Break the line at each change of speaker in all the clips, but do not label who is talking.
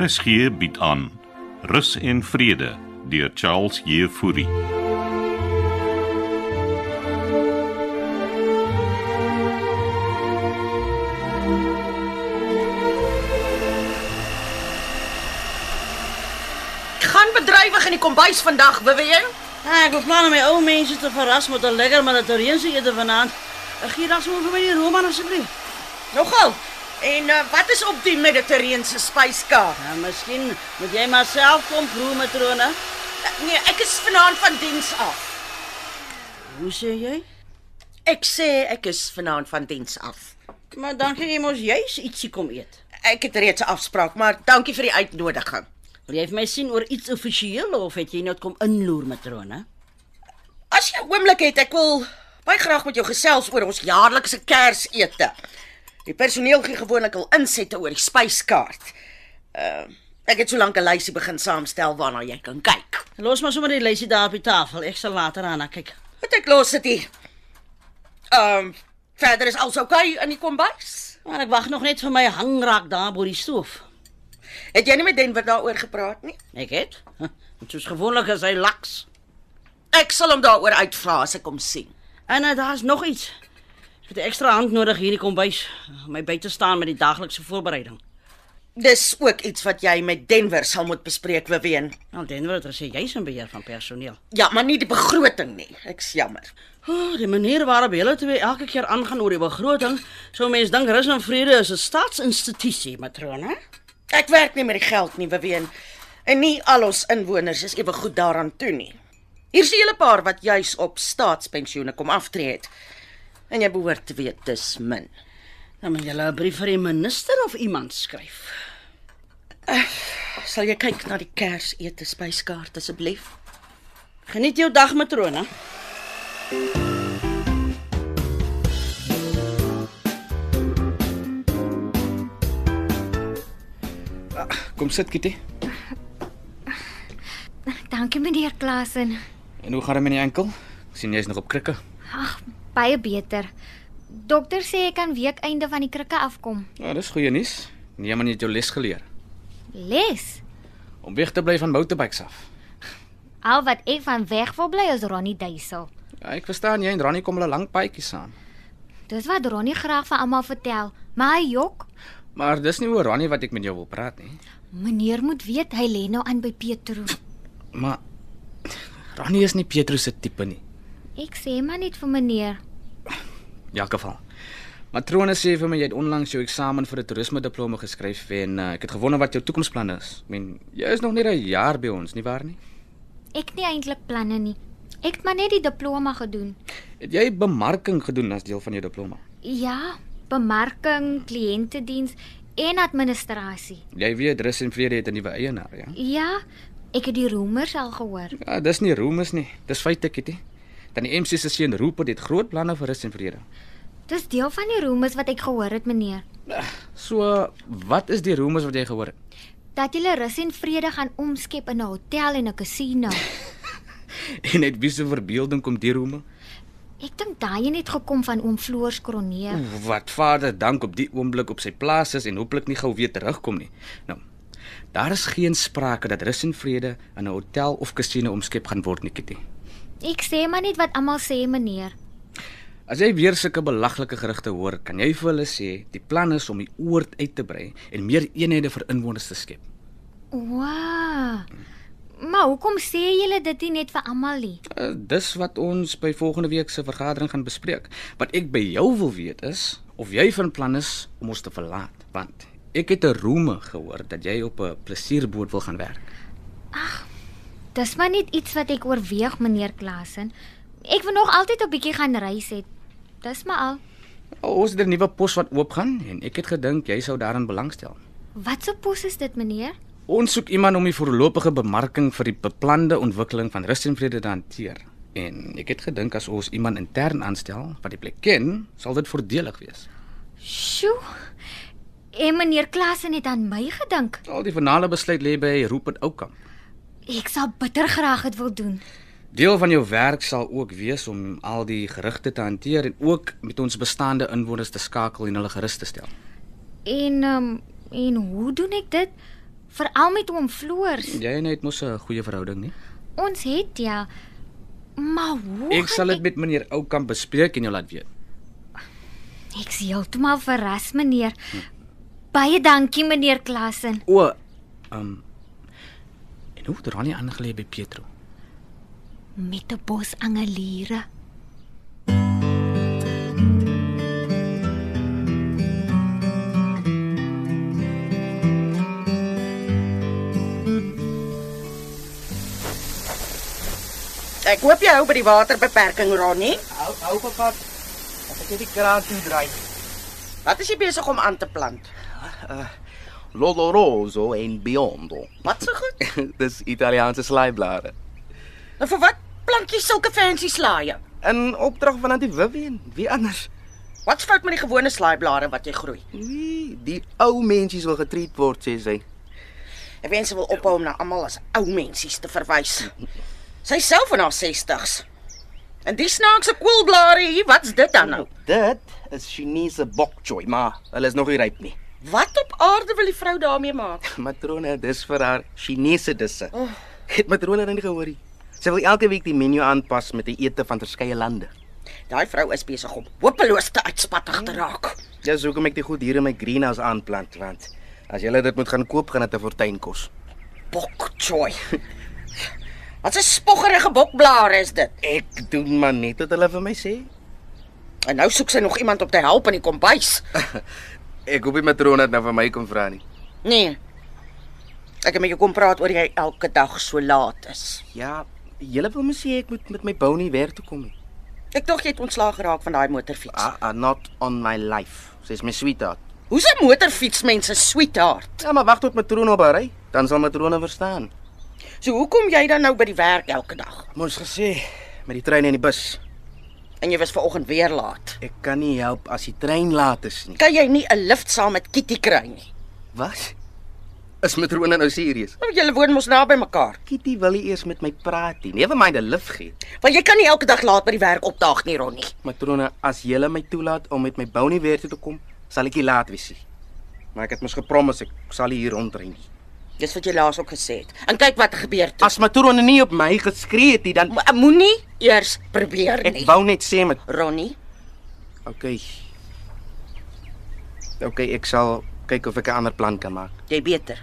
RSG bied aan Rus en Vrede deur Charles Jefouri.
Gaan bedrywig in die kombuis vandag, Vivian.
Ah, ek beplan om my ou mense te verras met 'n lekker Mediterrane ete vanaand. Ek gee dan sommer vir my die roman asseblief.
Nogal. En uh, wat is op die Mediterrane spyskaart?
Ja, miskien moet jy maar self kom proe matrone.
Uh, nee, ek is vanaand van diens af.
Hoe sê jy?
Ek sê ek is vanaand van diens af.
Maar dan gaan jy mos juis ietsie kom eet.
Ek het reeds 'n afspraak, maar dankie vir die uitnodiging.
Wil jy vir my sien oor iets offisieel of het jy net kom inloer matrone?
As jy 'n oomblik het, ek wil baie graag met jou gesels oor ons jaarlikse Kersete. Die personeel gee gewoonlik al insette oor die spyskaart. Uh, ek het so lank 'n lysie begin saamstel waarna jy kan kyk.
Los maar sommer die lysie daar op die tafel. Ek sal later aan kyk.
Wat ek los dit hier. Ehm um, verder is alles oukei okay in die kombuis.
Maar ek wag nog net vir my hangrak daar bo die stoof.
Het jy nie met Denver daaroor gepraat nie?
Ek het. Huh, Soos gewoonlik is hy laks.
Ek sal hom daaroor uitvra as ek hom sien.
En uh, daar's nog iets. Ek het 'n ekstra hand nodig hier in die kombuis om my by te staan met die daaglikse voorbereiding.
Dis ook iets wat jy met Denver sal moet bespreek, Weween.
Nou Denver het gesê jy's in beheer van personeel.
Ja, maar nie die begroting nie. Ek's jammer.
Oh, die manier waarop hulle twee elke keer aangaan oor die begroting, sou mense dink Rus en Vrede is 'n staatsinstitusie, matrone.
Ek werk nie met die geld nie, Weween. En nie al ons inwoners is ewe goed daaraan toe nie. Hier's 'n hele paar wat juis op staatspensioene kom aftree het. En jy behoort te weet dis min.
Dan moet jy 'n brief vir die minister of iemand skryf. Eh,
Sal jy kyk na die Kersete spyskaart asseblief?
Geniet jou dag, matrone.
Kom sit, Kitty.
Dankie meneer Klasen.
En hoe gaan dit met die enkel? Ek sien jy's nog op krikke.
Ag, baie beter. Dokter sê ek kan weekeinde van die krikke afkom.
Ja, dis goeie nuus. Nee, man, jy het jou les geleer
Les.
om weg te bly van motorbikes af.
Al wat ek van weg wil bly is Ronnie Duisel.
Ja, ek verstaan jy en Ronnie kom hulle lank paadjie saam.
Dis wat Ronnie graag vir almal vertel, maar hy jok.
Maar dis nie oor Ronnie wat ek met jou wil praat nie.
Meneer moet weet hy lê nou aan by Petro.
Maar Ronnie is nie Petrus se tipe nie.
Ek sê maar net vir meneer.
In elk geval. Matrone sê vir my jy het onlangs jou eksamen vir 'n toerisme diploma geskryf en uh, ek het gewonder wat jou toekomsplanne is. Ek meen, jy is nog net 'n jaar by ons, nie waar nie?
Ek het nie eintlik planne nie. Ek het maar net die diploma gedoen.
Het jy bemarking gedoen as deel van jou diploma?
Ja, bemarking, kliëntediens en administrasie.
Jy weet Rus en Vrede het 'n nuwe eienaar, ja.
Ja, ek het die roemers al gehoor.
Ja, dis nie roemers nie. Dis feite, Kitty. Dan die MC se seun Rupert het groot planne vir Rus en Vrede.
Dis deel van die roemers wat ek gehoor het, meneer,
So, wat is die roemers wat jy gehoor het?
dat julle rus en vrede gaan omskep in 'n hotel en 'n casino.
En het wie se verbeelding kom die roeme?
Ek dink daai een het gekom van oom Floors Kronee.
Wat Vader dank op die oomblik op sy plaas is en hopelik nie gou weer terugkom nie. Nou, daar is geen sprake dat rus en vrede in 'n hotel of kasino omskep gaan word nie, Kitty.
Ek sê maar net wat almal sê, meneer.
As jy weer sulke belaglike gerugte hoor, kan jy vir hulle sê die plan is om die oord uit te brei en meer eenhede vir inwoners te skep.
Wow. Maar hoekom sê julle dit nie net vir almal nie?
Uh, dis wat ons by volgende week se vergadering gaan bespreek. Wat ek by jou wil weet is of jy van plan is om ons te verlaat, want ek het 'n roeme gehoor dat jy op 'n plesierboot wil gaan werk.
Dis maar net iets wat ek oorweeg, meneer Klasen. Ek wil nog altyd 'n bietjie gaan reis het. Dis maar al.
O, Ons het er 'n nuwe pos wat oopgaan en ek het gedink jy sou daarin belangstel.
Wat se pos is dit, meneer?
Ons soek iemand om die voorlopige bemarking vir die beplande ontwikkeling van Rus en Vrede te hanteer. En ek het gedink as ons iemand intern aanstel wat die plek ken, sal dit voordelig wees.
Sjoe. En meneer Klasen het aan my gedink.
Al die finale besluit lê by Rupert Oukamp.
Ek sal bitter graag dit wil doen.
Deel van jou werk sal ook wees om al die gerugte te hanteer en ook met ons bestaande inwoners te skakel en hulle gerus te stel.
En ehm um, en hoe doen ek dit? veral met hom floors.
Jy en hy het mos 'n goeie verhouding, nie?
Ons het ja. Maar hoe?
Ek sal dit
gaan
met meneer Oukamp bespreek en jou laat weet.
ek Ek's heeltemal verras, meneer. Baie dankie, meneer Klassen.
O, ehm um, en hoe het Ronnie aangelê by Pietro?
Met 'n bos angeliere.
Ek hoop jy hou by die waterbeperking, Ronnie.
Hou hou papat. As ek net die kraan toe draai.
Wat is jy besig om aan te plant?
L'oloroso en biondo.
Wat se so goed?
Dis Italiaanse slaaiblare.
Nou vir wat plant jy sulke fancy slaaië?
In opdrag van Auntie Vivian, wie anders?
Wat's fout met die gewone slaaiblare wat jy groei?
Wie die ou mensies wil getreat word, sê sy.
Ek wens sy wil ophou om na almal as ou mensies te verwys. Sy self in haar 60's. En die snaakse koolblare hier, wat's dit dan nou?
Dit is Chinese bok choy, maar hulle is nog nie ryp nie.
Wat op aarde wil die vrou daarmee maak?
Matrone, dis vir haar Chinese disse. Oh. Het matrone dan nie gehoor nie. Sy wil elke week die menu aanpas met die ete van verskeie lande.
Daai vrou is besig om hopeloos te uitspattig te raak.
Ja, Dis hoekom ek dit goed hier in my greenhouse aanplant, want as jy dit moet gaan koop, gaan dit 'n fortuin kos.
Bok choy. Wat 'n spoggerige bokblare is dit.
Ek doen maar net wat hulle vir my sê.
En nou soek sy nog iemand om te help in die kombuis.
Ek hoop die matrone het nou vir my kom vra nie.
Nee. Ek het met jou kom praat oor jy elke dag so laat is.
Ja, julle wil my sê ek moet met my bonie werk toe kom nie.
Ek dink jy het ontslaag geraak van daai motorfiets.
Ah, ah, not on my life. Sy's my sweetheart.
Hoe's 'n motorfiets mense sweetheart?
Ja, maar wag tot matrone op haar ry, dan sal matrone verstaan.
So hoekom jy dan nou by die werk elke dag?
Moes gesê met die trein en die bus.
En jy was vanoggend weer laat.
Ek kan nie help as die trein laat is nie.
Kan jy nie 'n lift saam met Kitty kry nie?
Wat? Is matrone nou serieus?
Nou julle woon mos naby mekaar.
Kitty wil nie eers met my praat nie. Never mind 'n lif gee.
Want jy kan nie elke dag laat by die werk opdaag nie, Ronnie.
Matrone, as jy my toelaat om met my bonie weer toe te kom, sal ek nie laat wees nie. Maar ek het mos gepromis ek sal nie hier rondry nie.
Dis wat jy laas ook gesê het. En kyk wat gebeur het.
As Matrone nie op my geskree het nie, dan
Mo- eh, Moenie eers probeer
ek
nie.
wou net sê met
Ronnie,
Okay. Okay, ek sal kyk of ek 'n ander plan kan maak.
jy beter.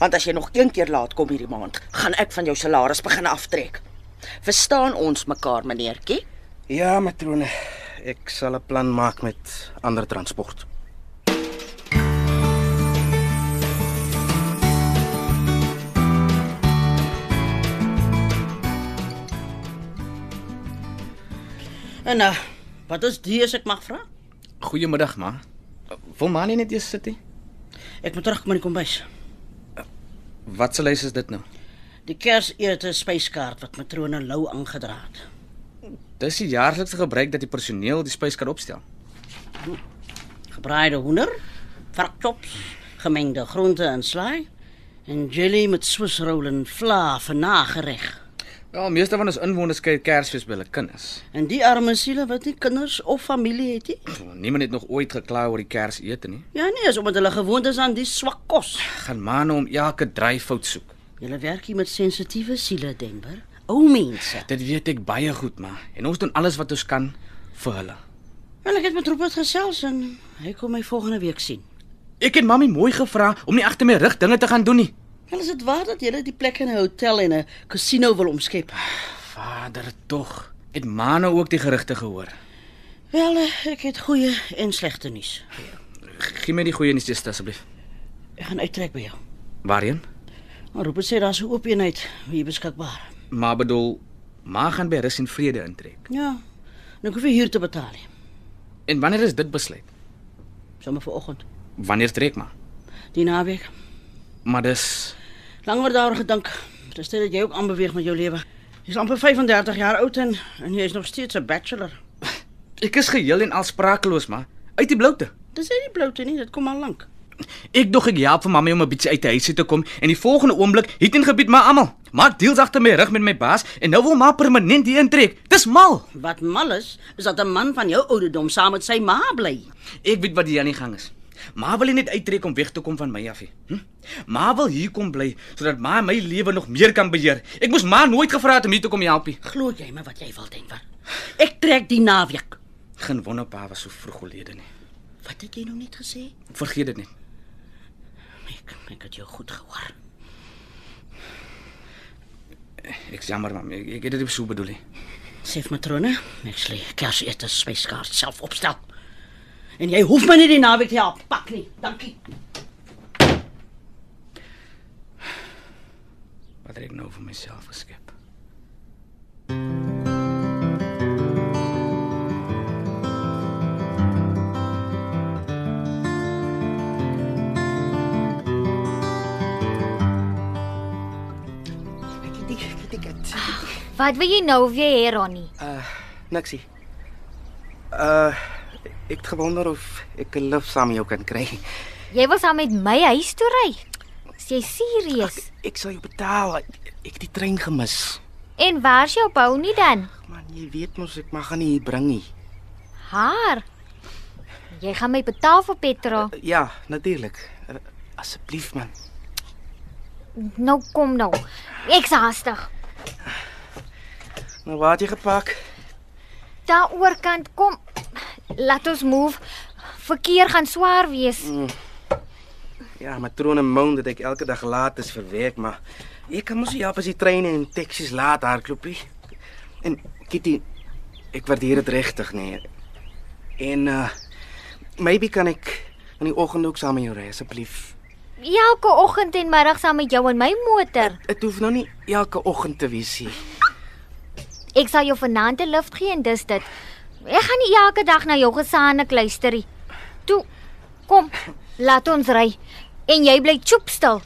Want as jy nog een keer laat kom hierdie maand, gaan ek van jou salaris begin aftrek. Verstaan ons mekaar, meneertjie?
Ja, Matrone, ek sal 'n plan maak met ander transport.
En uh, wat is die as ek mag vra?
Goeiemiddag, ma. Wil ma nie net eers sit nie?
Ek moet terugkom in die kombuis.
Wat se lys is dit nou?
Die Kersete spyskaart wat matrone Lou aangedra het.
Dis die jaarlikse gebruik dat die personeel die spyskaart opstel.
Gebraaide hoender, varkchops, gemengde groente en slaai en jelly met swisrol en vla vir nagereg.
Wel, Ja, meeste van ons inwoners kyk Kersfees by hulle kinders.
En die arme siele wat nie kinders of familie het nie.
Niemand het nog ooit gekla oor die Kersete nie.
Ja nee, is omdat hulle gewoond is aan die swak kos.
Gaan ma nou om elke dryfout soek.
Julle werk hier met sensitiewe siele, Denver. Ou mense.
Dit weet ek baie goed, ma. En ons doen alles wat ons kan vir hulle.
Wel ek het met Rupert gesels en hy kom my volgende week sien.
Ek het mami mooi gevra om nie agter my rug dinge te gaan doen nie.
Wel is dit waar dat julle die plek in 'n hotel en 'n casino wil omskep?
Vader tog. Het ma nou ook die gerugte gehoor?
Wel, eh, ek het goeie en slegte nuus.
Gee my die goeie nuus eers asseblief.
Ek gaan uittrek by jou.
Waarheen?
Maar Rupert sê daar's 'n oop eenheid hier beskikbaar.
Ma bedoel, ma gaan by rus en vrede intrek.
Ja. En ek hoef nie huur te betaal nie.
En wanneer is dit besluit?
Sommige vanoggend,
Wanneer trek ma?
die naweek.
Maar dis
Lang word daaroor gedink. Dis dit dat jy ook aanbeweeg met jou lewe. Jy's amper 35 jaar oud en en jy is nog steeds 'n bachelor.
ek is geheel en al sprakeloos, ma. Uit die bloute.
Dis nie die bloute nie, dit kom al lank.
Ek dog ek help vir mamma om 'n bietjie uit die huis uit te kom en die volgende oomblik het in gebied my almal. Maak deals agter my rug met my baas en nou wil ma permanent hier intrek. Dis mal.
Wat mal is, is dat 'n man van jou ouderdom saam met sy ma bly.
Ek weet wat hier aan die gang is. Ma wil nie net uittrek om weg te kom van my af nie. Hm? Ma wil hier kom bly sodat ma my lewe nog meer kan beheer. Ek moes ma nooit gevra het om hier te kom help nie.
Glo jy my wat jy wil, Denver? Ek trek die naweek.
Geen wonder pa was so vroeg gelede nie.
Wat het jy nog net gesê?
Ek vergeet dit net.
Ek ek het jou goed gehoor.
Ek jammer mam, ek, ek het dit nie so bedoel nie.
Sê vir matrone, ek sê Kersete spyskaart self opstel. En jy hoef my nie die naweek te help pak nie. Dankie.
Wat het ek nou vir myself geskep?
Ek het nie- ek het nie- ek het nie-
Wat wil jy nou weer hê, Ronnie?
Niksie. Uh ek het gewonder of ek 'n lift saam met jou kan kry.
Jy wil saam met my huis toe ry? Is jy serieus?
Ek sal jou betaal. Ek, ek het die trein gemis.
En waar's jou pony dan?
Man, jy weet mos ek mag haar nie hier bring nie.
Haar. Jy gaan my betaal vir petrol.
Ja, natuurlik. Eh, Asseblief man.
Nou kom nou. Ek's haastig.
Nou waar het jy gepak?
Daar oorkant kom. Laat ons move. Verkeer gaan swaar wees.
Ja, matrone moan dat ek elke dag laat is vir werk, maar ek kan mos nie help as die treine en taksies laat hardloopie. En Kitty, ek waardeer dit regtig nee. En uh maybe kan ek in die oggend ook saam met jou ry asseblief.
Elke oggend en middag saam met jou in my motor.
Dit hoef nou nie elke oggend te wees nie.
Ek sal jou vanaand 'n lift gee en dis dit. Ek gaan nie elke dag na jou gesaane luister nie. Toe. Kom. Laat ons ry. En jy bly choop stil.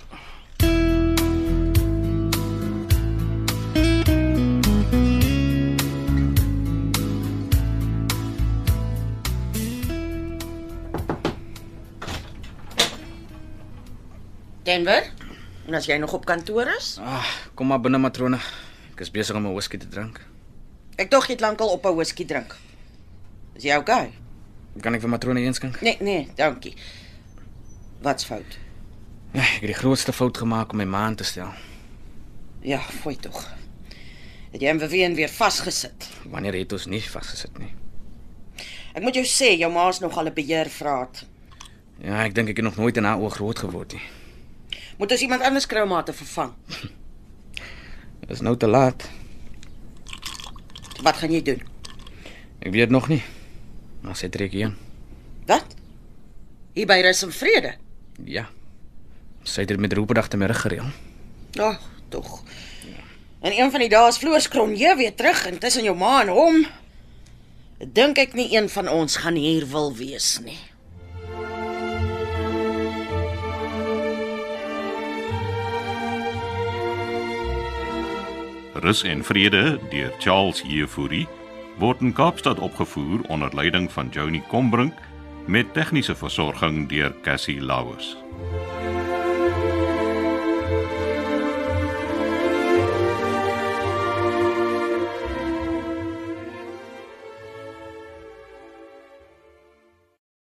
Denver, en as jy nog op kantoor is?
Ah, kom maar binne matrone. Ek is besig om 'n whisky te drink.
Ek dink jy het lankal op 'n whisky drink. Is jy okay?
Kan ek vir matrone eens skink?
Nee, nee, dankie. Wat's fout?
Ja, ek het die grootste fout gemaak om my ma aan te stel.
Ja, fooi tog. Het jy hom weer weer vasgesit.
Wanneer het ons nie vasgesit nie.
Ek moet jou sê, jou ma's nogal 'n beheervraat.
Ja, ek dink ek het nog nooit in haar oog groot geword nie.
Moet ons iemand anders kry om haar te vervang?
Dis nou te laat.
Wat gaan jy doen?
Ek weet nog nie. Maar sy trek heen.
Wat? Hier by rus en vrede.
Ja. Sy het dit met Roopendag te middag gereël.
Ag, tog. En een van die dae is Floors Kronje weer terug en tussen jou ma en hom dink ek nie een van ons gaan hier wil wees nie.
Rus en Vrede deur Charles Jefouri word in Kaapstad opgevoer onder leiding van Johnny Combrink met tegniese versorging deur Cassie Lauers.